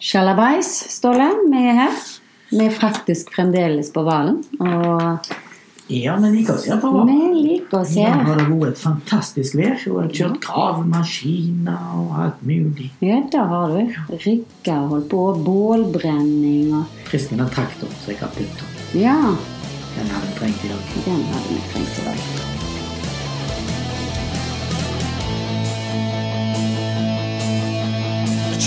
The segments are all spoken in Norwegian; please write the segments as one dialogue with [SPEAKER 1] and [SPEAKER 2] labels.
[SPEAKER 1] Sjalabais, Ståle. Vi er her. Vi er faktisk fremdeles på Hvalen. Og
[SPEAKER 2] Ja, vi liker oss her på
[SPEAKER 1] vi
[SPEAKER 2] Hvaler.
[SPEAKER 1] liker oss
[SPEAKER 2] Nå
[SPEAKER 1] her.
[SPEAKER 2] har det vært et fantastisk vær, og jeg har kjørt gravemaskiner og alt mulig.
[SPEAKER 1] Ja, det har du. Rigga og holdt på. Bålbrenning og
[SPEAKER 2] Kristin har traktoren som jeg har puttet om.
[SPEAKER 1] Ja,
[SPEAKER 2] Den hadde vi trengt i dag.
[SPEAKER 1] den hadde vi trengt i dag.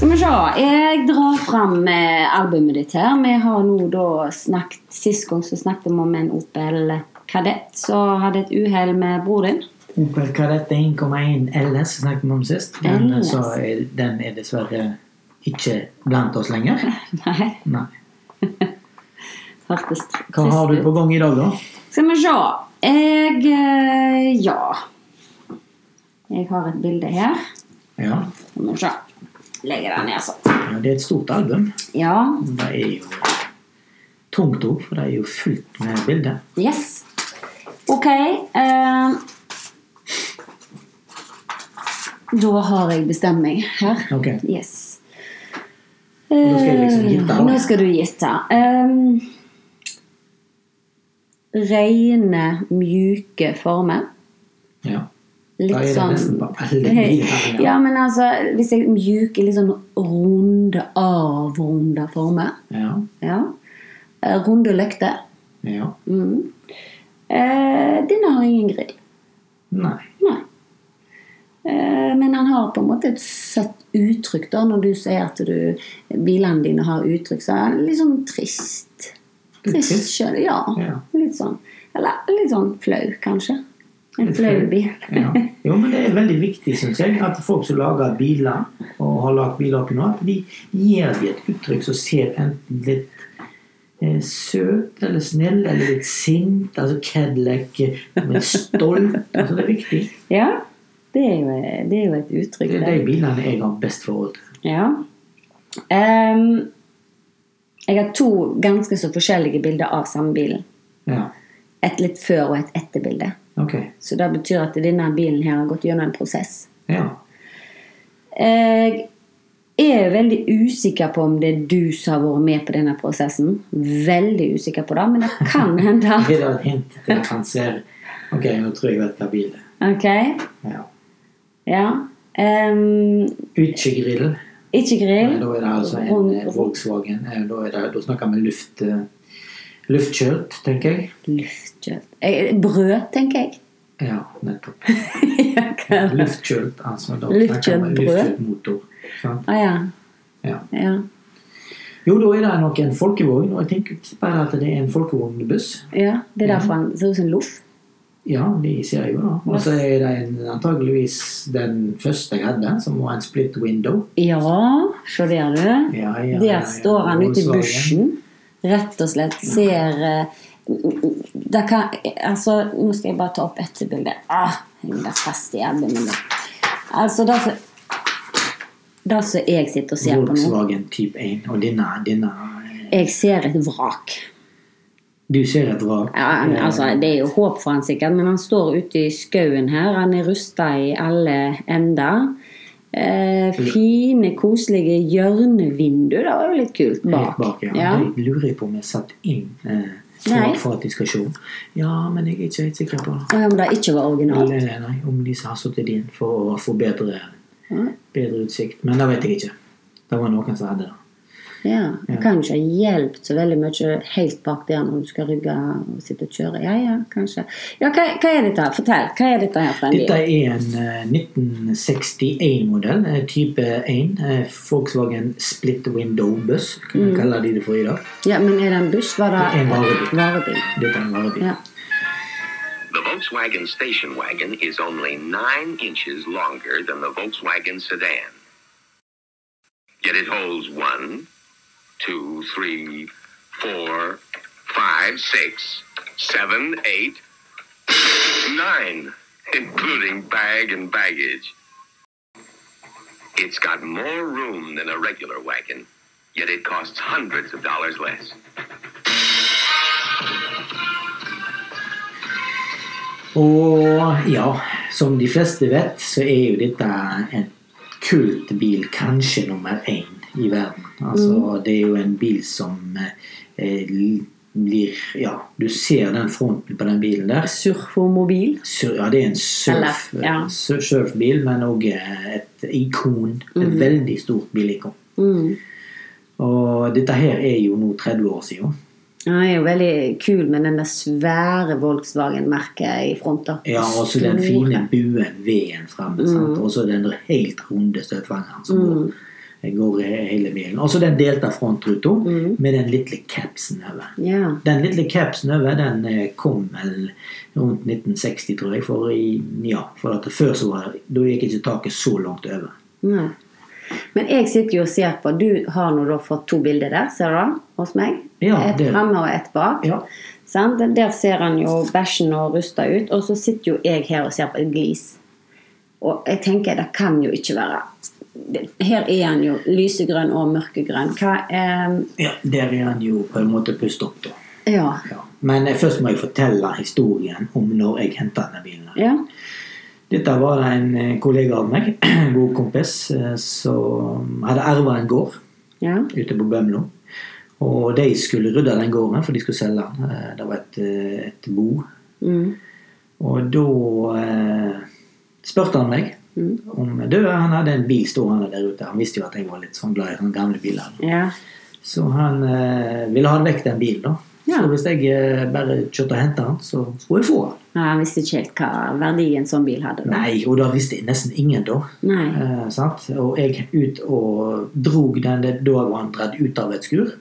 [SPEAKER 1] Skal vi se. Jeg drar fram eh, albumet ditt her. Vi har nå da snakket, Sist gang så snakket vi om en Opel Kadett som hadde et uhell med bror din.
[SPEAKER 2] Opel Kadett 1,1 LS snakket vi om sist, men
[SPEAKER 1] LS.
[SPEAKER 2] så er, den er dessverre ikke blant oss lenger.
[SPEAKER 1] Nei,
[SPEAKER 2] Nei.
[SPEAKER 1] hørtes tr-
[SPEAKER 2] Hva har du
[SPEAKER 1] trist ut.
[SPEAKER 2] på gang i dag, da?
[SPEAKER 1] Skal vi se. Jeg eh, Ja. Jeg har et bilde her.
[SPEAKER 2] Ja,
[SPEAKER 1] Skal vi se. Legger det ned sånn.
[SPEAKER 2] ja det er et stort album.
[SPEAKER 1] Ja.
[SPEAKER 2] Det er jo tungt òg, for det er jo fullt med bilder.
[SPEAKER 1] Yes. Ok. eh, da har jeg bestemt meg her.
[SPEAKER 2] Ok.
[SPEAKER 1] Yes. Eh,
[SPEAKER 2] nå skal jeg liksom gjette, da.
[SPEAKER 1] Nå skal du gjette. Ehm, rene, mjuke former.
[SPEAKER 2] Ja.
[SPEAKER 1] Litt
[SPEAKER 2] Da er det nesten
[SPEAKER 1] sånn
[SPEAKER 2] bare veldig mye.
[SPEAKER 1] ja, men altså, hvis jeg mjuke, litt sånn runde, avrunda former.
[SPEAKER 2] Ja.
[SPEAKER 1] Ja. Eh, Runde løkter.
[SPEAKER 2] ja.
[SPEAKER 1] Mm. Eh, denne har ingen grill.
[SPEAKER 2] Nei.
[SPEAKER 1] Nei. Eh, Men han har på en måte et søtt uttrykk da, når du sier at du, bilene dine har uttrykk. Så er det litt sånn trist. Trist
[SPEAKER 2] trist.
[SPEAKER 1] sjøl, ja.
[SPEAKER 2] Ja.
[SPEAKER 1] Litt sånn. Eller litt sånn flau, kanskje. En
[SPEAKER 2] Litt
[SPEAKER 1] flau
[SPEAKER 2] flau.
[SPEAKER 1] bil.
[SPEAKER 2] Ja. Jo, men det er veldig viktig, syns jeg, at folk som lager biler, og har lagd biler opp til nå, at de gir de et uttrykk som ser enten litt eh, søt eller snill eller litt sint. Altså Cadillac eh, men stolt. Altså, det er viktig.
[SPEAKER 1] Ja, det er jo, det er jo et uttrykk,
[SPEAKER 2] Det er
[SPEAKER 1] det.
[SPEAKER 2] de bilene jeg har best forhold til.
[SPEAKER 1] Ja. Ehm, jeg har to ganske så forskjellige bilder av samme bilen.
[SPEAKER 2] Ja.
[SPEAKER 1] Et litt før og et etterbilde.
[SPEAKER 2] Ok.
[SPEAKER 1] Så det betyr at denne bilen her har gått gjennom en prosess.
[SPEAKER 2] Ja.
[SPEAKER 1] Jeg er veldig usikker på om det er du som har vært med på denne prosessen. Veldig usikker på det, men det kan hende.
[SPEAKER 2] Det er da et hint til at han ser Ok, nå tror jeg jeg vet hva bil er.
[SPEAKER 1] Ok,
[SPEAKER 2] Ja.
[SPEAKER 1] ja. Ehm,
[SPEAKER 2] Utegrill.
[SPEAKER 1] ikke
[SPEAKER 2] Nei,
[SPEAKER 1] grill.
[SPEAKER 2] Da er det altså en eh, Volkswagen. Eh, Da, er det, da snakker vi luft, eh, luftkjølt, tenker jeg.
[SPEAKER 1] Luftkjøtt. Eh, Brød, tenker jeg.
[SPEAKER 2] Ja, nettopp.
[SPEAKER 1] Ja, hva-
[SPEAKER 2] Luftkjølt, altså. Da
[SPEAKER 1] Luftkjølt
[SPEAKER 2] snakker vi
[SPEAKER 1] brød.
[SPEAKER 2] luftkjølt motor. sant?
[SPEAKER 1] Å Ah, ja.
[SPEAKER 2] Ja.
[SPEAKER 1] ja.
[SPEAKER 2] Jo, da er det nok en folkevogn, og jeg tenker bare at det er en folkevognbuss.
[SPEAKER 1] Ja, det er derfor han ser ut som en loff.
[SPEAKER 2] Ja, de ser jeg jo da. Og så er det en, antageligvis den første jeg hadde, som var en split window.
[SPEAKER 1] Ja, se der, du.
[SPEAKER 2] Ja, ja, ja, ja.
[SPEAKER 1] Der står han ute i
[SPEAKER 2] Volkswagen.
[SPEAKER 1] bushen. Rett og slett ser eh, det kan, altså, Nå skal jeg bare ta opp ett bilde. Ah, jeg blir fast i albuen min. Altså, det som Det som jeg sitter og ser på nå
[SPEAKER 2] Volkswagen type 1. Og denne, denne eh,
[SPEAKER 1] Jeg ser et vrak.
[SPEAKER 2] Du ser et vrak.
[SPEAKER 1] Ja, han,
[SPEAKER 2] eh,
[SPEAKER 1] altså, det er jo håp for han sikkert, men han står ute i skauen her. Han er rusta i alle ender. Eh, fine, koselige hjørnevindu. Det var jo litt kult
[SPEAKER 2] Helt
[SPEAKER 1] bak.
[SPEAKER 2] bak, ja.
[SPEAKER 1] Ja.
[SPEAKER 2] Jeg lurer på om jeg satt inn eh,
[SPEAKER 1] Nei.
[SPEAKER 2] for, for at de skal se. Ja, men jeg er ikke helt sikker på
[SPEAKER 1] Og om det ikke var originalt.
[SPEAKER 2] Eller, eh, nei, om de som har sittet inn for å få bedre, bedre utsikt. Men det vet jeg ikke. Det var noen som hadde det.
[SPEAKER 1] Ja. Det kan jo ikke ha hjulpet så veldig mye helt bak der når du skal rygge og sitte og kjøre. Ja, ja, kanskje. Ja, hva, hva er dette her? Fortell. Hva er dette her for en
[SPEAKER 2] Dette
[SPEAKER 1] bil?
[SPEAKER 2] er en 1961-modell, type 1. eh, Volkswagen Split Window Buss, kan vi
[SPEAKER 1] Mm.
[SPEAKER 2] kalle de det for i dag.
[SPEAKER 1] Ja, men er det en buss? Var det
[SPEAKER 2] Det er en varebil.
[SPEAKER 1] varebil?
[SPEAKER 2] Dette er en varebil.
[SPEAKER 1] Ja.
[SPEAKER 3] The Volkswagen station wagon is only nine inches longer than the Volkswagen sedan. Yet it holds one, two, three, four, five, six, seven, eight, nine, including bag and baggage. It's got more room than a regular wagon, yet it costs hundreds of dollars less.
[SPEAKER 2] Og ja, som de fleste vet, så er jo dette en kult bil, kanskje nummer én i verden. Altså,
[SPEAKER 1] Mm.
[SPEAKER 2] Det er jo en bil som eh, l- blir Ja, du ser den fronten på den bilen der.
[SPEAKER 1] Surfomobil.
[SPEAKER 2] Sur, ja, det er en surf,
[SPEAKER 1] Eller, ja.
[SPEAKER 2] sur- surfbil, men òg et ikon. Et veldig stort bilikon.
[SPEAKER 1] Mm.
[SPEAKER 2] Og dette her er jo nå 30 år siden.
[SPEAKER 1] Den er jo veldig kul med den der svære Volkswagen-merket i front. da.
[SPEAKER 2] Ja, Mm. og så den
[SPEAKER 1] Store.
[SPEAKER 2] fine buen, veden framme. sant? Og så den helt runde støtfangeren som går, går he- hele bilen. Og så den delte frontruta med den lille capsen over.
[SPEAKER 1] Ja.
[SPEAKER 2] Den lille capsen over den eh, kom vel rundt 1960, tror jeg. For, i, ja, for at før så var det, da gikk ikke taket så langt over.
[SPEAKER 1] Nei. Men jeg sitter jo og ser på. Du har nå da fått to bilder der, ser du? Hos meg.
[SPEAKER 2] Ja,
[SPEAKER 1] et
[SPEAKER 2] det-
[SPEAKER 1] framme og et bak.
[SPEAKER 2] Ja.
[SPEAKER 1] Sant? Den Der ser han jo bæsjen og rusta ut. Og så sitter jo jeg her og ser på et glis. Og jeg tenker, det kan jo ikke være det- Her er han jo lysegrønn og mørkegrønn. Hva er
[SPEAKER 2] ja, Der er han jo på en måte pustet opp, da.
[SPEAKER 1] Ja.
[SPEAKER 2] Ja. Men eh, først må jeg fortelle historien om når jeg hentet denne bilen. her.
[SPEAKER 1] ja.
[SPEAKER 2] Dette var en eh, kollega av meg, en god kompis, eh, som hadde arva en gård
[SPEAKER 1] ja.
[SPEAKER 2] ute på Bømlo. Og de skulle rydde den gården, for de skulle selge den. Eh, Det var et, eh, et bo.
[SPEAKER 1] Mm.
[SPEAKER 2] Og da eh, spurte han meg
[SPEAKER 1] Mm.
[SPEAKER 2] om Du, han hadde en bil stående der ute. Han visste jo at jeg var litt sånn glad i sånne gamle biler.
[SPEAKER 1] ja.
[SPEAKER 2] Så han eh, ville ha vekk den bilen, da.
[SPEAKER 1] Ja.
[SPEAKER 2] Så hvis jeg eh, bare kjørte og hentet den, så skulle jeg få den.
[SPEAKER 1] Ja, Han visste ikke helt hva verdi en sånn bil hadde. Da.
[SPEAKER 2] Nei, og da visste nesten ingen, da.
[SPEAKER 1] Nei.
[SPEAKER 2] Eh, sant? Og jeg ut og drog den da var han dratt ut av et skur.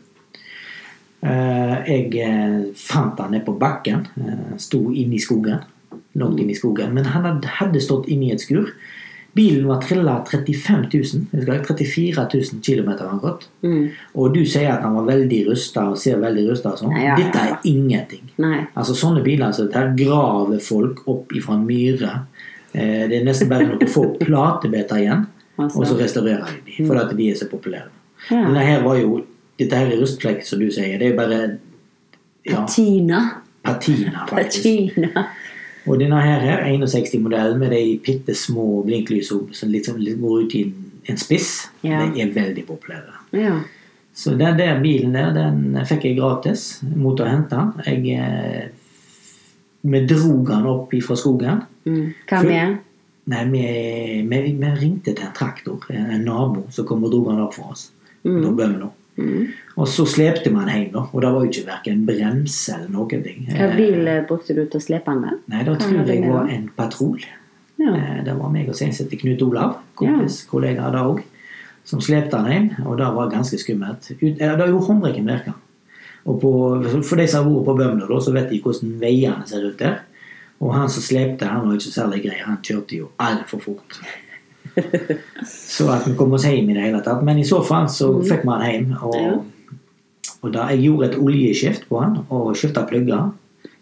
[SPEAKER 2] Eh, jeg eh, fant han nede på bakken. Eh, sto inne i skogen. Langt inne i skogen. Men han hadde, hadde stått inne i et skur. Bilen var trilla 35 000, husker jeg, 34 000 km har han gått.
[SPEAKER 1] Mm.
[SPEAKER 2] Og du sier at han var veldig rusta og ser veldig rusta og sånn.
[SPEAKER 1] Ja, ja, ja.
[SPEAKER 2] Dette er ingenting.
[SPEAKER 1] Nei.
[SPEAKER 2] Altså Sånne biler som dette her graver folk opp ifra en myre. Eh, det er nesten bare noen få platebiter igjen,
[SPEAKER 1] Altså.
[SPEAKER 2] og så restaurerer de dem. Fordi at de er så populære.
[SPEAKER 1] Ja.
[SPEAKER 2] Men det her var jo Dette her er rustflekk, som du sier. Det er bare ja,
[SPEAKER 1] Tina.
[SPEAKER 2] patina, faktisk.
[SPEAKER 1] Tina.
[SPEAKER 2] Og denne her er 61-modellen med de bitte små blinklysene som liksom går ut i en, en spiss.
[SPEAKER 1] Ja.
[SPEAKER 2] De er veldig populære.
[SPEAKER 1] Ja.
[SPEAKER 2] Så den der bilen der, den fikk jeg gratis mot å hente den. Jeg eh, Vi drog den opp ifra skogen.
[SPEAKER 1] Mm. Hva
[SPEAKER 2] Full-
[SPEAKER 1] mer?
[SPEAKER 2] Nei, vi, vi, vi ringte til en traktor, en en nabo, som kom og drog den opp for oss.
[SPEAKER 1] Mm.
[SPEAKER 2] På Bømlo. Og så slepte vi den hjem, da. Og det var jo ikke verken bremse eller noen ting.
[SPEAKER 1] Hva
[SPEAKER 2] Eh,
[SPEAKER 1] bil eh, brukte du til å slepe den med?
[SPEAKER 2] Nei, da
[SPEAKER 1] hadde
[SPEAKER 2] tror jeg
[SPEAKER 1] med
[SPEAKER 2] var
[SPEAKER 1] den?
[SPEAKER 2] en patrol.
[SPEAKER 1] Ja.
[SPEAKER 2] Eh, Det var meg og seneste Knut Olav, kompis, kollega da òg, som slepte han hjem. Og det var ganske skummelt. Ut, eh, det gjorde håndbrekken virka. Og på, for de som har vært på Bømlo, da, så vet de hvordan veiene ser ut der. Og han som slepte, han var ikke særlig grei. Han kjørte jo altfor fort. så at vi kom oss hjem i det hele tatt. Men i så fall så fikk vi han hjem. Og, og da jeg gjorde et oljeskift på han, og skifta plugger,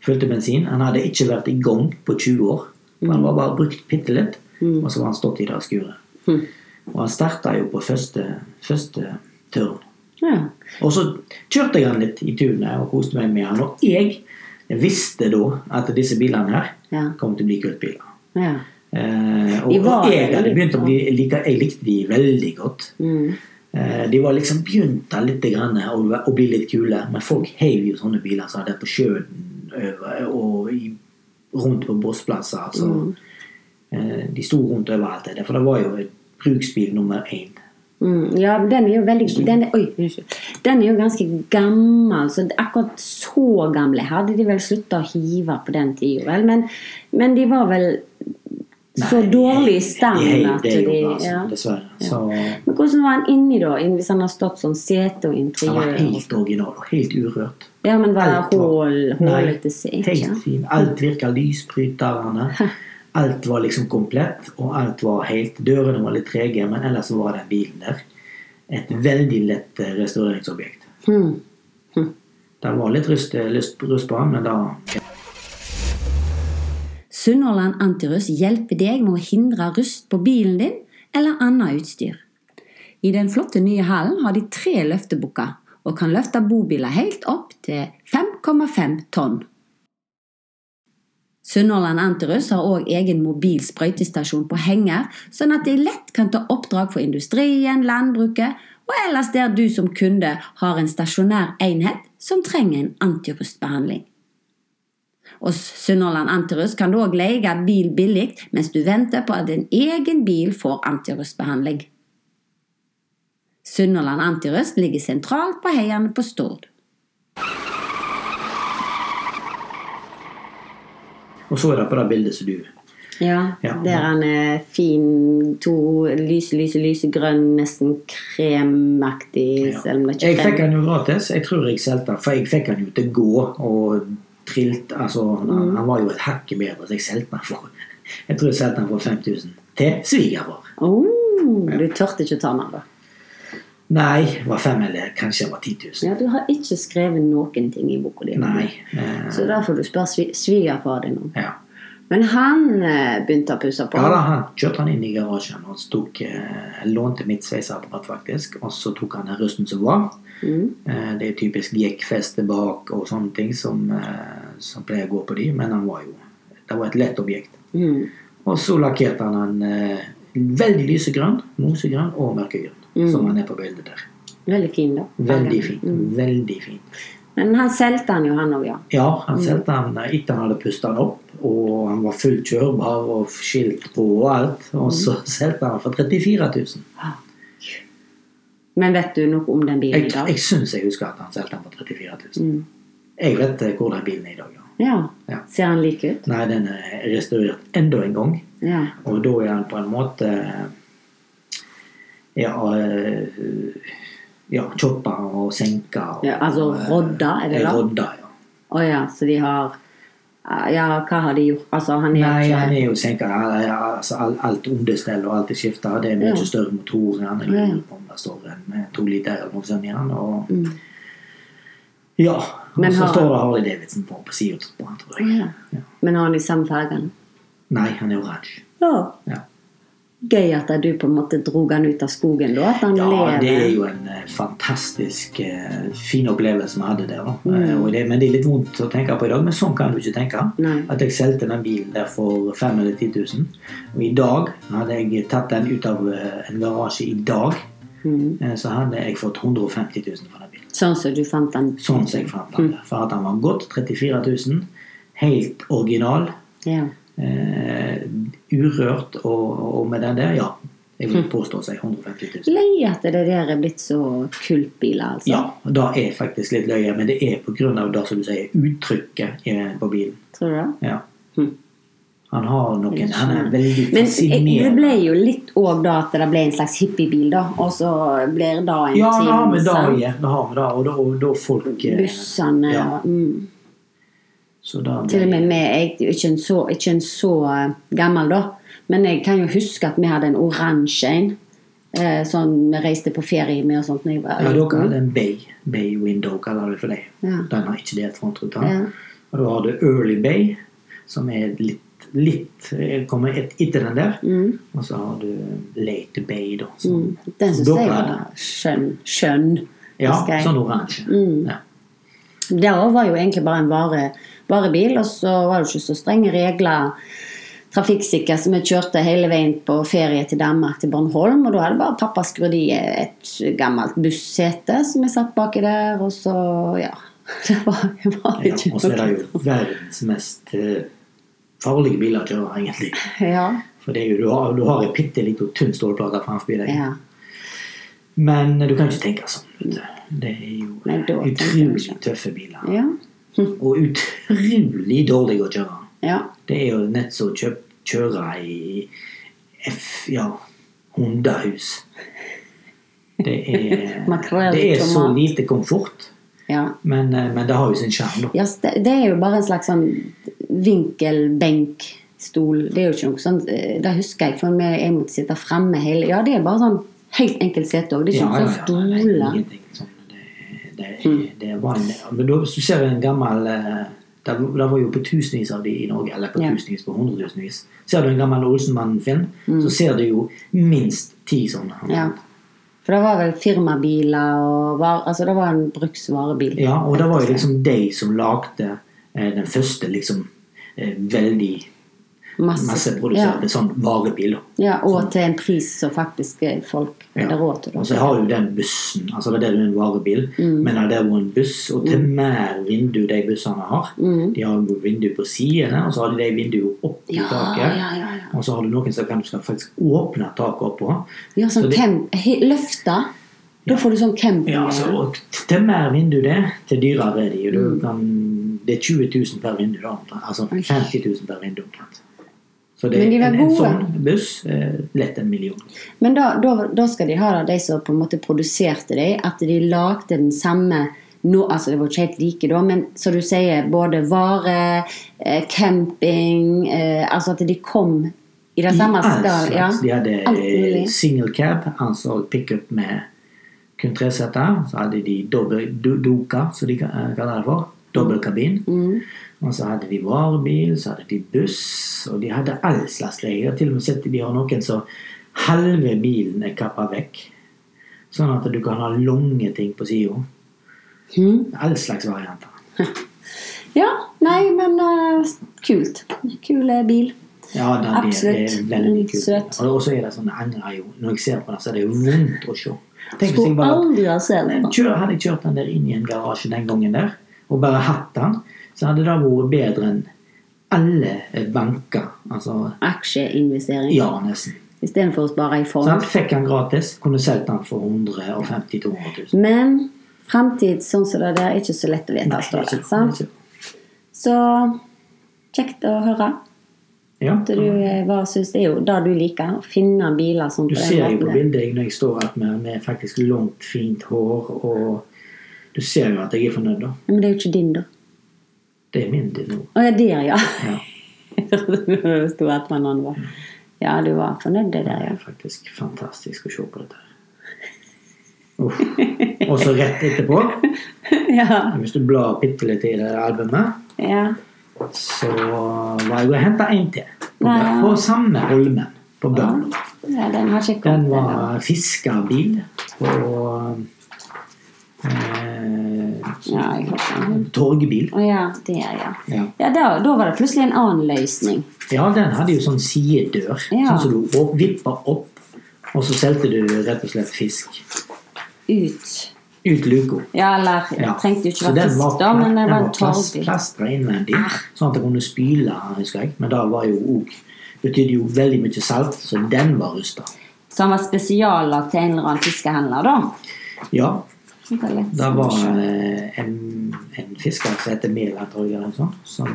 [SPEAKER 2] fylte bensin Han hadde ikke vært i gang på 20 år. Han var bare brukt bitte litt, og så var han stått i det skuret.
[SPEAKER 1] Hm.
[SPEAKER 2] Og han starta jo på første, første tørn.
[SPEAKER 1] ja.
[SPEAKER 2] Og så kjørte jeg han litt i tunet og koste meg med han. Og jeg visste da at disse bilene her
[SPEAKER 1] Ja.
[SPEAKER 2] kom til å bli kultbiler.
[SPEAKER 1] ja.
[SPEAKER 2] Eh, og
[SPEAKER 1] De var
[SPEAKER 2] og jeg hadde
[SPEAKER 1] veldig
[SPEAKER 2] begynt å bli like, Jeg likte de veldig godt.
[SPEAKER 1] Mm.
[SPEAKER 2] Eh, de var liksom begynt da litt grann å, å bli litt kule, men folk heiv jo sånne biler som hadde på sjøen over, og i, rundt på båsplasser. Altså.
[SPEAKER 1] Mm.
[SPEAKER 2] Eh, de sto rundt overalt, det, for det var jo et bruksbil nummer én.
[SPEAKER 1] Mm. ja, men den er jo veldig den er, Oi, unnskyld. Den er jo ganske gammel. Så akkurat så gamle hadde de vel slutta å hive på den tida, vel. Men, men de var vel så
[SPEAKER 2] Nei, de
[SPEAKER 1] dårlig i
[SPEAKER 2] heiv- de
[SPEAKER 1] stand
[SPEAKER 2] heiv
[SPEAKER 1] at
[SPEAKER 2] det
[SPEAKER 1] de
[SPEAKER 2] jo, altså,
[SPEAKER 1] ja.
[SPEAKER 2] Dessverre. Så
[SPEAKER 1] Men hvordan var han inni, da? inn- Hvis han har stått som sete og
[SPEAKER 2] Den var
[SPEAKER 1] interiør?
[SPEAKER 2] helt original og helt urørt.
[SPEAKER 1] Ja, men var det hull-
[SPEAKER 2] Nei,
[SPEAKER 1] hullete sete? ja?
[SPEAKER 2] helt fin. Alt virka lysbryterne. Alt var liksom komplett, og alt var helt Dørene var litt trege, men ellers var den bilen der et veldig lett eh, restaureringsobjekt.
[SPEAKER 1] Hmm.
[SPEAKER 2] Det var litt rust, eh, lyst, rust på han, men da
[SPEAKER 4] Sunnhordland Antirust hjelper deg med å hindre rust på bilen din eller annet utstyr. I den flotte nye hallen har de tre løftebukker og kan løfte bobiler helt opp til 5,5 tonn. Sunnhordland Antirust har òg egen mobil sprøytestasjon på henger, sånn at de lett kan ta oppdrag for industrien, landbruket og ellers der du som kunde har en stasjonær enhet som trenger en antirustbehandling. Hos Sunnhordland Antirust kan du òg leie bil billig mens du venter på at din egen bil får antirustbehandling. Sunnhordland Antirust ligger sentralt på heiene på Stord.
[SPEAKER 2] Og så er det på det bildet som du
[SPEAKER 1] Ja,
[SPEAKER 2] Ja.
[SPEAKER 1] der han er fin, to lyse, lyse, lysegrønn, nesten kremaktig,
[SPEAKER 2] Ja.
[SPEAKER 1] selv om det
[SPEAKER 2] Jeg
[SPEAKER 1] ikke er krem.
[SPEAKER 2] fikk den jo gratis. Jeg tror jeg solgte den, for jeg fikk den jo til å gå og trilt Altså, han,
[SPEAKER 1] Mm.
[SPEAKER 2] han var jo et hakket bedre, så jeg solgte den for Jeg tror jeg solgte den for 5000 til svigerfar.
[SPEAKER 1] Oh, du tørte ikke ta den av, da.
[SPEAKER 2] Nei, det var fem eller kanskje det var 10 000.
[SPEAKER 1] Ja, du har ikke skrevet noen ting i boka di.
[SPEAKER 2] Nei. eh,
[SPEAKER 1] Så da får du spørre svi- svigerfar din om.
[SPEAKER 2] ja.
[SPEAKER 1] Men han eh, begynte å pusse på.
[SPEAKER 2] ja da, han kjørte han inn i garasjen og tok, eh, lånte mitt sveiseapparat, faktisk. Og så tok han den rusten som var.
[SPEAKER 1] Mm.
[SPEAKER 2] Eh, det er typisk jekkfeste bak og sånne ting som, eh, som pleier å gå på de, men han var jo Det var et lett objekt.
[SPEAKER 1] Mm.
[SPEAKER 2] Og så lakkerte han den eh, veldig lysegrønn, mosegrønn og mørkegrønn.
[SPEAKER 1] Mm.
[SPEAKER 2] Som han er på bildet der.
[SPEAKER 1] Veldig fin, da.
[SPEAKER 2] Veldig fint.
[SPEAKER 1] Mm.
[SPEAKER 2] Veldig fint.
[SPEAKER 1] Men han solgte han jo, han òg, ja.
[SPEAKER 2] Ja, han solgte han eh, etter han hadde pustet han opp, og han var fullt kjørbar og skilt på og alt. Og
[SPEAKER 1] Mm.
[SPEAKER 2] så solgte han den for 34 000.
[SPEAKER 1] Men vet du noe om den bilen
[SPEAKER 2] Ah. Jeg,
[SPEAKER 1] i dag?
[SPEAKER 2] jeg syns jeg husker at han solgte den for 34 000.
[SPEAKER 1] Mm.
[SPEAKER 2] Jeg vet eh, hvor den bilen er i dag, ja.
[SPEAKER 1] Ja.
[SPEAKER 2] Ja.
[SPEAKER 1] Ser han lik ut?
[SPEAKER 2] Nei, den er restaurert enda en gang.
[SPEAKER 1] Ja.
[SPEAKER 2] Og da er han på en måte Ja, eh, ja choppa og senka. Og,
[SPEAKER 1] Ja, altså rodda, er det
[SPEAKER 2] Eh,
[SPEAKER 1] da?
[SPEAKER 2] Rodda, ja.
[SPEAKER 1] Å ja, så de har ah, Ja, hva har de gjort? Altså, han er
[SPEAKER 2] Nei,
[SPEAKER 1] ikke
[SPEAKER 2] han er jo senka. ja, ja, Altså, alt, alt understell og alt er skifta. Det er mye
[SPEAKER 1] Ja.
[SPEAKER 2] større motor enn han. Jeg
[SPEAKER 1] Ja.
[SPEAKER 2] lurer på om det står en eh, to liter eller noe sånt i han. Og,
[SPEAKER 1] Mm.
[SPEAKER 2] ja.
[SPEAKER 1] Men
[SPEAKER 2] Og så
[SPEAKER 1] har-
[SPEAKER 2] står det Harley Davidson på, på sida på han,
[SPEAKER 1] Å
[SPEAKER 2] tror jeg.
[SPEAKER 1] ja. Men har han de samme fargene?
[SPEAKER 2] Nei, han er oransje.
[SPEAKER 1] Ja.
[SPEAKER 2] Ja.
[SPEAKER 1] Gøy at du på en måte drog han ut av skogen, da. At han
[SPEAKER 2] Ja,
[SPEAKER 1] lever.
[SPEAKER 2] det er jo en eh, fantastisk eh, fin opplevelse vi hadde der. Da. Eh, og det, men det er litt vondt å tenke på i dag, men sånn kan du ikke tenke.
[SPEAKER 1] Nei.
[SPEAKER 2] At jeg solgte den bilen der for 5 eller 10 000. Og i dag hadde jeg tatt den ut av eh, en garasje i dag,
[SPEAKER 1] Mhm.
[SPEAKER 2] eh, så hadde jeg fått 150 000 for den bilen.
[SPEAKER 1] Sånn som du fant han.
[SPEAKER 2] Sånn som jeg fant den. der. For at den var godt 34 000. Helt original.
[SPEAKER 1] Ja.
[SPEAKER 2] Eh, urørt og, og med den der, ja. Jeg vil påstå seg 150 000.
[SPEAKER 1] Løy at det der er blitt så kultbiler, altså.
[SPEAKER 2] Ja, og det er faktisk litt løye, men det er pga. det som du sier, uttrykket i- på bilen.
[SPEAKER 1] Tror du det?
[SPEAKER 2] Ja.
[SPEAKER 1] Hm.
[SPEAKER 2] Han har noen Han er veldig
[SPEAKER 1] Men eh, det
[SPEAKER 2] fascinerende.
[SPEAKER 1] ble jo litt òg da at det ble en slags hippiebil, da. Og så blir det da en
[SPEAKER 2] Ja, det har vi
[SPEAKER 1] ting
[SPEAKER 2] det
[SPEAKER 1] som
[SPEAKER 2] òg. Ja, det har vi det, og da- og da folk eh,
[SPEAKER 1] Bussene
[SPEAKER 2] Ja.
[SPEAKER 1] og mm.
[SPEAKER 2] så da ble-
[SPEAKER 1] Til og med vi, jeg er jo ikke en så, ikke en så eh, gammel da, men jeg kan jo huske at vi hadde en oransje en, eh, sånn vi reiste på ferie med og sånt. når jeg var
[SPEAKER 2] Ja, dere
[SPEAKER 1] liten.
[SPEAKER 2] hadde en Bay, bay Window, kaller det for det.
[SPEAKER 1] Ja.
[SPEAKER 2] Den har ikke delt frontruta.
[SPEAKER 1] Ja.
[SPEAKER 2] Og da har du Early Bay, som er litt, litt eh, kommer et, etter den der.
[SPEAKER 1] Mm.
[SPEAKER 2] Og så har du Late Bay, da.
[SPEAKER 1] Mm.
[SPEAKER 2] Som,
[SPEAKER 1] Den syns
[SPEAKER 2] Dere
[SPEAKER 1] jeg
[SPEAKER 2] hadde.
[SPEAKER 1] var skjønn. skjønn.
[SPEAKER 2] Ja,
[SPEAKER 1] husker jeg.
[SPEAKER 2] sånn oransje.
[SPEAKER 1] Mm.
[SPEAKER 2] Ja.
[SPEAKER 1] Det også var jo egentlig bare en vare, varebil, og så var det ikke så strenge regler. Trafikksikker, så vi kjørte hele veien på ferie til Danmark, til Bornholm. Og da hadde bare pappa skrudd i et gammelt bussete som vi satt baki der, og så Ja. Det var, det var
[SPEAKER 2] Ja,
[SPEAKER 1] ikke
[SPEAKER 2] og så er det
[SPEAKER 1] noe.
[SPEAKER 2] jo verdens mest eh, farlige biler å kjøre, egentlig.
[SPEAKER 1] Ja,
[SPEAKER 2] For det er jo, du har, du har en bitte liten tynn stålplate framfor deg.
[SPEAKER 1] ja.
[SPEAKER 2] Men du kan ikke tenke sånn. vet du. Det er jo
[SPEAKER 1] Nei, da tenker jeg
[SPEAKER 2] utrolig
[SPEAKER 1] ikke. sånn.
[SPEAKER 2] tøffe biler.
[SPEAKER 1] Ja.
[SPEAKER 2] Og utrolig dårlige å kjøre.
[SPEAKER 1] ja.
[SPEAKER 2] Det er jo nett som å kjøp- kjøre i F, ja, hundehus. Det er,
[SPEAKER 1] Makrell i
[SPEAKER 2] det er så
[SPEAKER 1] tomat.
[SPEAKER 2] lite komfort,
[SPEAKER 1] ja.
[SPEAKER 2] men, eh, men det har jo sin sjarm. da.
[SPEAKER 1] ja så det, det er jo bare en slags sånn vinkelbenkstol. Det er jo ikke noe sånn eh, Det husker jeg, for vi- jeg måtte sitte framme hele Ja, det er bare sånn helt enkelt sete òg. Det er ikke noe sånn
[SPEAKER 2] nei,
[SPEAKER 1] stoler.
[SPEAKER 2] ingenting sånn. Det, Det, det er vann. Men da- hvis du ser en gammel eh, der, der var jo på tusenvis av de i Norge, eller på
[SPEAKER 1] Ja.
[SPEAKER 2] tusenvis, på hundretusenvis. Ser du en gammel Olsenmann-film, så ser du jo minst ti sånne.
[SPEAKER 1] Mm. Ja. For det var vel firmabiler og var, Altså det var en bruksvarebil.
[SPEAKER 2] Ja, og det var jo liksom de som lagde eh, den første liksom eh, veldig
[SPEAKER 1] Masse-
[SPEAKER 2] masseproduserte
[SPEAKER 1] Ja.
[SPEAKER 2] sånn varebil. da. Sånn
[SPEAKER 1] Ja, og til en pris som faktisk eh, folk hadde råd til. Mm. da.
[SPEAKER 2] Og så har jo den bussen, altså det er jo en varebil, men det er jo en buss, og
[SPEAKER 1] Mm.
[SPEAKER 2] til mer vindu de bussene har. De har jo vindu på sidene, og så har de de vinduene opp i
[SPEAKER 1] Ja,
[SPEAKER 2] taket.
[SPEAKER 1] ja, ja, ja.
[SPEAKER 2] Og så har du noen som kan du skal faktisk åpne taket oppå.
[SPEAKER 1] Ja, sånn
[SPEAKER 2] Så det-
[SPEAKER 1] camp, he- løfter. Da får du sånn camping.
[SPEAKER 2] Ja, altså, og til mer vindu det, til dyrere er de. og
[SPEAKER 1] Mm.
[SPEAKER 2] Du kan, det er 20 000 per vindu, da, omtrent. Altså 50 000 per vindu, omtrent. Så det
[SPEAKER 1] Men
[SPEAKER 2] er
[SPEAKER 1] de var
[SPEAKER 2] en, en
[SPEAKER 1] gode.
[SPEAKER 2] sånn buss eh, lett en million.
[SPEAKER 1] Men da, da, da skal de ha da, de som på en måte produserte dem, at de lagde den samme nå, altså Det var ikke helt like, da, men som du sier, både vare, eh, camping eh, Altså at de kom i det samme
[SPEAKER 2] Alt
[SPEAKER 1] skal. Ja.
[SPEAKER 2] slags. De hadde
[SPEAKER 1] Alt mulig.
[SPEAKER 2] eh, single cab, altså pickup med kun tre seter. Så hadde de dobbel do- doka, som de ka- eh, kaller det for. Dobbel kabin.
[SPEAKER 1] Mm.
[SPEAKER 2] Og så hadde de varebil, så hadde de buss, og de hadde all slags greier. Jeg har Til og med sett de har noen som halve bilen er kappa vekk. Sånn at du kan ha lange ting på sida.
[SPEAKER 1] Mhm.
[SPEAKER 2] All slags varianter.
[SPEAKER 1] ja. Nei, men eh, kult. Kul eh, bil.
[SPEAKER 2] Ja, da, det, det er
[SPEAKER 1] Absolutt.
[SPEAKER 2] veldig
[SPEAKER 1] Mm,
[SPEAKER 2] kult.
[SPEAKER 1] søt.
[SPEAKER 2] Og så er det sånn, jeg angrer jo. Når jeg ser på det, så er det jo vondt å se. Tenk hvis jeg
[SPEAKER 1] Skulle
[SPEAKER 2] bare
[SPEAKER 1] aldri ha sett
[SPEAKER 2] Men
[SPEAKER 1] den.
[SPEAKER 2] kjør, hadde jeg kjørt den der inn i en garasje den gangen der, og bare hatt den, så hadde det vært bedre enn alle banker. Altså,
[SPEAKER 1] Aksjeinvestering.
[SPEAKER 2] ja, nesten.
[SPEAKER 1] Istedenfor å spare i fond.
[SPEAKER 2] Sant? fikk han gratis, kunne solgt den for 150 000-200 000.
[SPEAKER 1] Men framtid sånn som det der er ikke så lett å vite.
[SPEAKER 2] Nei,
[SPEAKER 1] står det,
[SPEAKER 2] ikke,
[SPEAKER 1] sant?
[SPEAKER 2] ikke.
[SPEAKER 1] Så kjekt å høre
[SPEAKER 2] Ja.
[SPEAKER 1] at du eh, hva syns det er jo det du liker. Å finne biler sånn
[SPEAKER 2] Du
[SPEAKER 1] på den
[SPEAKER 2] ser jo på
[SPEAKER 1] måten.
[SPEAKER 2] bildet jeg, når jeg står her med, med faktisk langt, fint hår, og du ser jo at jeg er fornøyd, da.
[SPEAKER 1] Men det er jo ikke din, da.
[SPEAKER 2] Det er min til nå.
[SPEAKER 1] Å ja, der, ja.
[SPEAKER 2] Ja.
[SPEAKER 1] Det sto at man annen var. Ja, du var fornøyd det der,
[SPEAKER 2] Det
[SPEAKER 1] ja.
[SPEAKER 2] er faktisk fantastisk å se på dette. her. Uff. Og så rett etterpå,
[SPEAKER 1] ja.
[SPEAKER 2] hvis du blar bitte litt i det albumet,
[SPEAKER 1] ja.
[SPEAKER 2] så var jeg og henta en til. På,
[SPEAKER 1] Nei.
[SPEAKER 2] på samme holmen, på Børn.
[SPEAKER 1] Ja, den har ikke kommet
[SPEAKER 2] Den
[SPEAKER 1] ennå.
[SPEAKER 2] var fiskerbil og eh,
[SPEAKER 1] Ja, jeg håper den.
[SPEAKER 2] torgbil.
[SPEAKER 1] Å ja, der, ja.
[SPEAKER 2] Ja.
[SPEAKER 1] Ja, da, da var det plutselig en annen løsning.
[SPEAKER 2] ja, den hadde jo sånn sidedør,
[SPEAKER 1] Ja.
[SPEAKER 2] sånn som du opp- vippa opp, og så solgte du rett og slett fisk
[SPEAKER 1] Ut.
[SPEAKER 2] ut luka.
[SPEAKER 1] Ja, eller det trengte jo ikke
[SPEAKER 2] Så
[SPEAKER 1] være
[SPEAKER 2] den var
[SPEAKER 1] fisk, da, men det
[SPEAKER 2] pla-
[SPEAKER 1] var Ah. en
[SPEAKER 2] plast-
[SPEAKER 1] torvbit.
[SPEAKER 2] plastra innvendig, sånn at det kunne spyle, husker jeg. Men det var jo òg betydde jo veldig mye salt, så den var rusta.
[SPEAKER 1] Så han var spesiallagd til en eller annen fiskehandler, da?
[SPEAKER 2] Ja,
[SPEAKER 1] Det er lett
[SPEAKER 2] det
[SPEAKER 1] sånn
[SPEAKER 2] var
[SPEAKER 1] selv.
[SPEAKER 2] eh, en, en fisker som heter Mæland, tror jeg, eller noe sånt, som,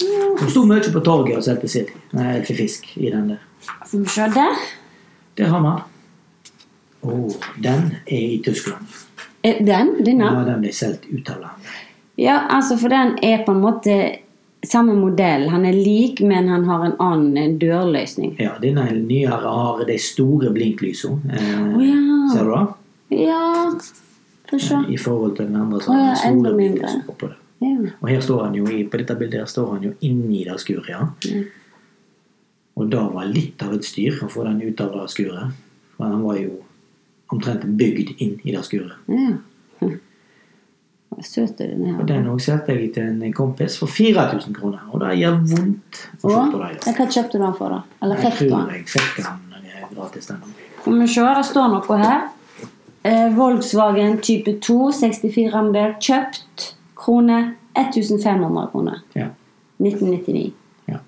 [SPEAKER 2] eh, som sto mye på torget og solgte sild. Nei, for fisk i den der.
[SPEAKER 1] Skal vi se der.
[SPEAKER 2] Det har man. Og den er i Tyskland.
[SPEAKER 1] Eh, Den?
[SPEAKER 2] Ja.
[SPEAKER 1] Denne?
[SPEAKER 2] den ble solgt ut av landet.
[SPEAKER 1] Ja, altså, for den er på en måte samme modell. Han er lik, men han har en annen eh, dørløsning.
[SPEAKER 2] Ja, denne er nyere har de store blinklysene. Eh,
[SPEAKER 1] Å, ja.
[SPEAKER 2] Ser du det?
[SPEAKER 1] Ja Få se.
[SPEAKER 2] i forhold til den andre. Så
[SPEAKER 1] Å,
[SPEAKER 2] har
[SPEAKER 1] ja,
[SPEAKER 2] den store
[SPEAKER 1] enda mindre.
[SPEAKER 2] bilder som går på det.
[SPEAKER 1] Ja.
[SPEAKER 2] Og her står han jo i, på dette bildet her står han jo inni det skuret, ja.
[SPEAKER 1] Mm.
[SPEAKER 2] Og da var litt av et styr å få den ut av det skuret. For han var jo omtrent bygd inn i det skuret.
[SPEAKER 1] ja. Hm. Hva Søt er den
[SPEAKER 2] Og
[SPEAKER 1] her.
[SPEAKER 2] den også solgte jeg til en kompis for 4000 kroner. Og det gjør vondt å se
[SPEAKER 1] Og
[SPEAKER 2] på det.
[SPEAKER 1] ja,
[SPEAKER 2] ja.
[SPEAKER 1] hva kjøpte du den for, da? Eller
[SPEAKER 2] altså. Jeg
[SPEAKER 1] fikk du den?
[SPEAKER 2] tror jeg fikk den eh, gratis den.
[SPEAKER 1] Skal vi se, det står noe her. Eh, Volkswagen type 2, 64-modell, kjøpt krone 1500 kroner.
[SPEAKER 2] Ja.
[SPEAKER 1] 1999.
[SPEAKER 2] Ja.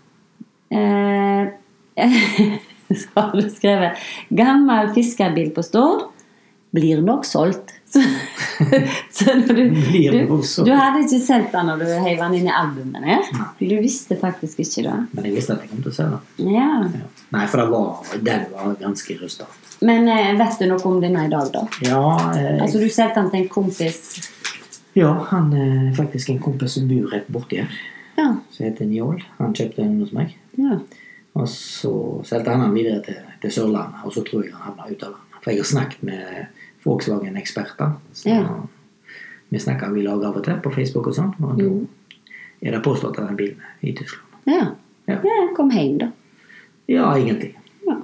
[SPEAKER 1] Eh, så har du skrevet 'Gammel fiskerbil på Stord blir nok solgt'. Så, så når du,
[SPEAKER 2] Blir
[SPEAKER 1] du,
[SPEAKER 2] nok solgt.
[SPEAKER 1] du hadde ikke solgt den når du heiv den inn i albumet her. Du visste faktisk ikke det.
[SPEAKER 2] Men jeg visste at jeg kom til å se den.
[SPEAKER 1] Ja.
[SPEAKER 2] Ja. Nei, for det var, den var ganske rusta.
[SPEAKER 1] Men eh, vet du noe om denne i dag, da?
[SPEAKER 2] Ja, eh,
[SPEAKER 1] Altså, du solgte den til en kompis.
[SPEAKER 2] Ja, han er faktisk en kompis som bor rett borti her.
[SPEAKER 1] Ja.
[SPEAKER 2] Som heter Njål. Han kjøpte den hos meg.
[SPEAKER 1] ja.
[SPEAKER 2] Og så solgte han den videre til, til Sørlandet, og så tror jeg han havna ut av landet. For jeg har snakket med Volkswagen-eksperter. Så
[SPEAKER 1] Ja.
[SPEAKER 2] vi snakker vi lager av og til på Facebook og sånn. Og da er det påstått at den bilen er i Tyskland.
[SPEAKER 1] Ja.
[SPEAKER 2] Ja.
[SPEAKER 1] ja. Kom hjem, da.
[SPEAKER 2] Ja, egentlig.
[SPEAKER 1] Ja.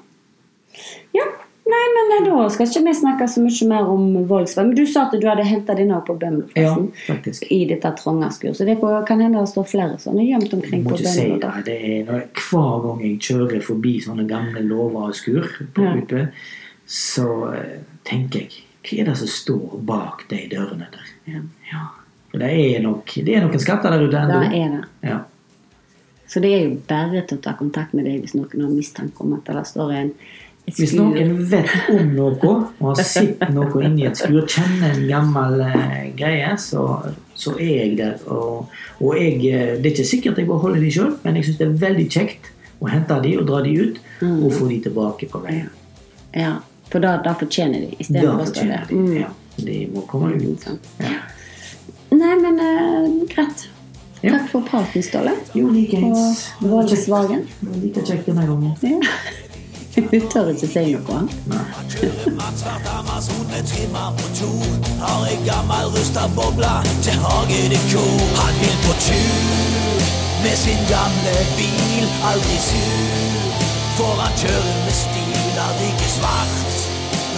[SPEAKER 1] ja. Nei, men eh, da skal ikke vi snakke så mye mer om Volkswagen. Men du sa at du hadde henta denne opp på Bømlo,
[SPEAKER 2] Ja,
[SPEAKER 1] forresten.
[SPEAKER 2] faktisk.
[SPEAKER 1] I dette trange skur. Så det er på, kan hende det står flere sånne gjemt
[SPEAKER 2] Jeg
[SPEAKER 1] omkring
[SPEAKER 2] må
[SPEAKER 1] på
[SPEAKER 2] ikke si
[SPEAKER 1] Bømlo.
[SPEAKER 2] det.
[SPEAKER 1] da.
[SPEAKER 2] det er, når, hver gang jeg kjører forbi sånne gamle låver og skur, på
[SPEAKER 1] Ja.
[SPEAKER 2] ute, så eh, tenker jeg Hva er det som står bak de dørene der?
[SPEAKER 1] Ja.
[SPEAKER 2] Ja. For det er nok, det er noen skatter der ute
[SPEAKER 1] Da
[SPEAKER 2] ennå.
[SPEAKER 1] er det.
[SPEAKER 2] Ja.
[SPEAKER 1] Så det er jo bare til å ta kontakt med deg hvis noen har mistanke om at det står en et
[SPEAKER 2] Hvis
[SPEAKER 1] skur.
[SPEAKER 2] noen vet om noe, og har sett noe inni et skur, kjenner en gammel eh, greie, så, så er jeg der. Og, og jeg, eh, det er ikke sikkert jeg beholder de sjøl, men jeg syns det er veldig kjekt å hente de og dra de ut,
[SPEAKER 1] Mm.
[SPEAKER 2] og få de tilbake på veien.
[SPEAKER 1] Ja, for da, da fortjener de. i stedet
[SPEAKER 2] Da
[SPEAKER 1] for å stå
[SPEAKER 2] fortjener
[SPEAKER 1] der.
[SPEAKER 2] de
[SPEAKER 1] Mm.
[SPEAKER 2] ja, De må komme ut.
[SPEAKER 1] Sånn.
[SPEAKER 2] Ja.
[SPEAKER 1] Nei, men eh, greit.
[SPEAKER 2] Ja.
[SPEAKER 1] Takk for praten, Ståle.
[SPEAKER 2] Jo, likeens.
[SPEAKER 1] Og Volkswagen.
[SPEAKER 2] Det var Like kjekt denne gangen.
[SPEAKER 1] Ja. Du tør ikke si noe annet.
[SPEAKER 2] Nei.
[SPEAKER 5] Svart Amazone trimmer på to Har ei gammel rusta boble til hagedekor. Han vil på tur med sin gamle bil, aldri sur. For han kjører med stil, han liker svart.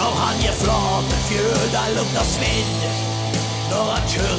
[SPEAKER 5] Når han gir flate fjøl, det lukter svidd. Når han kjører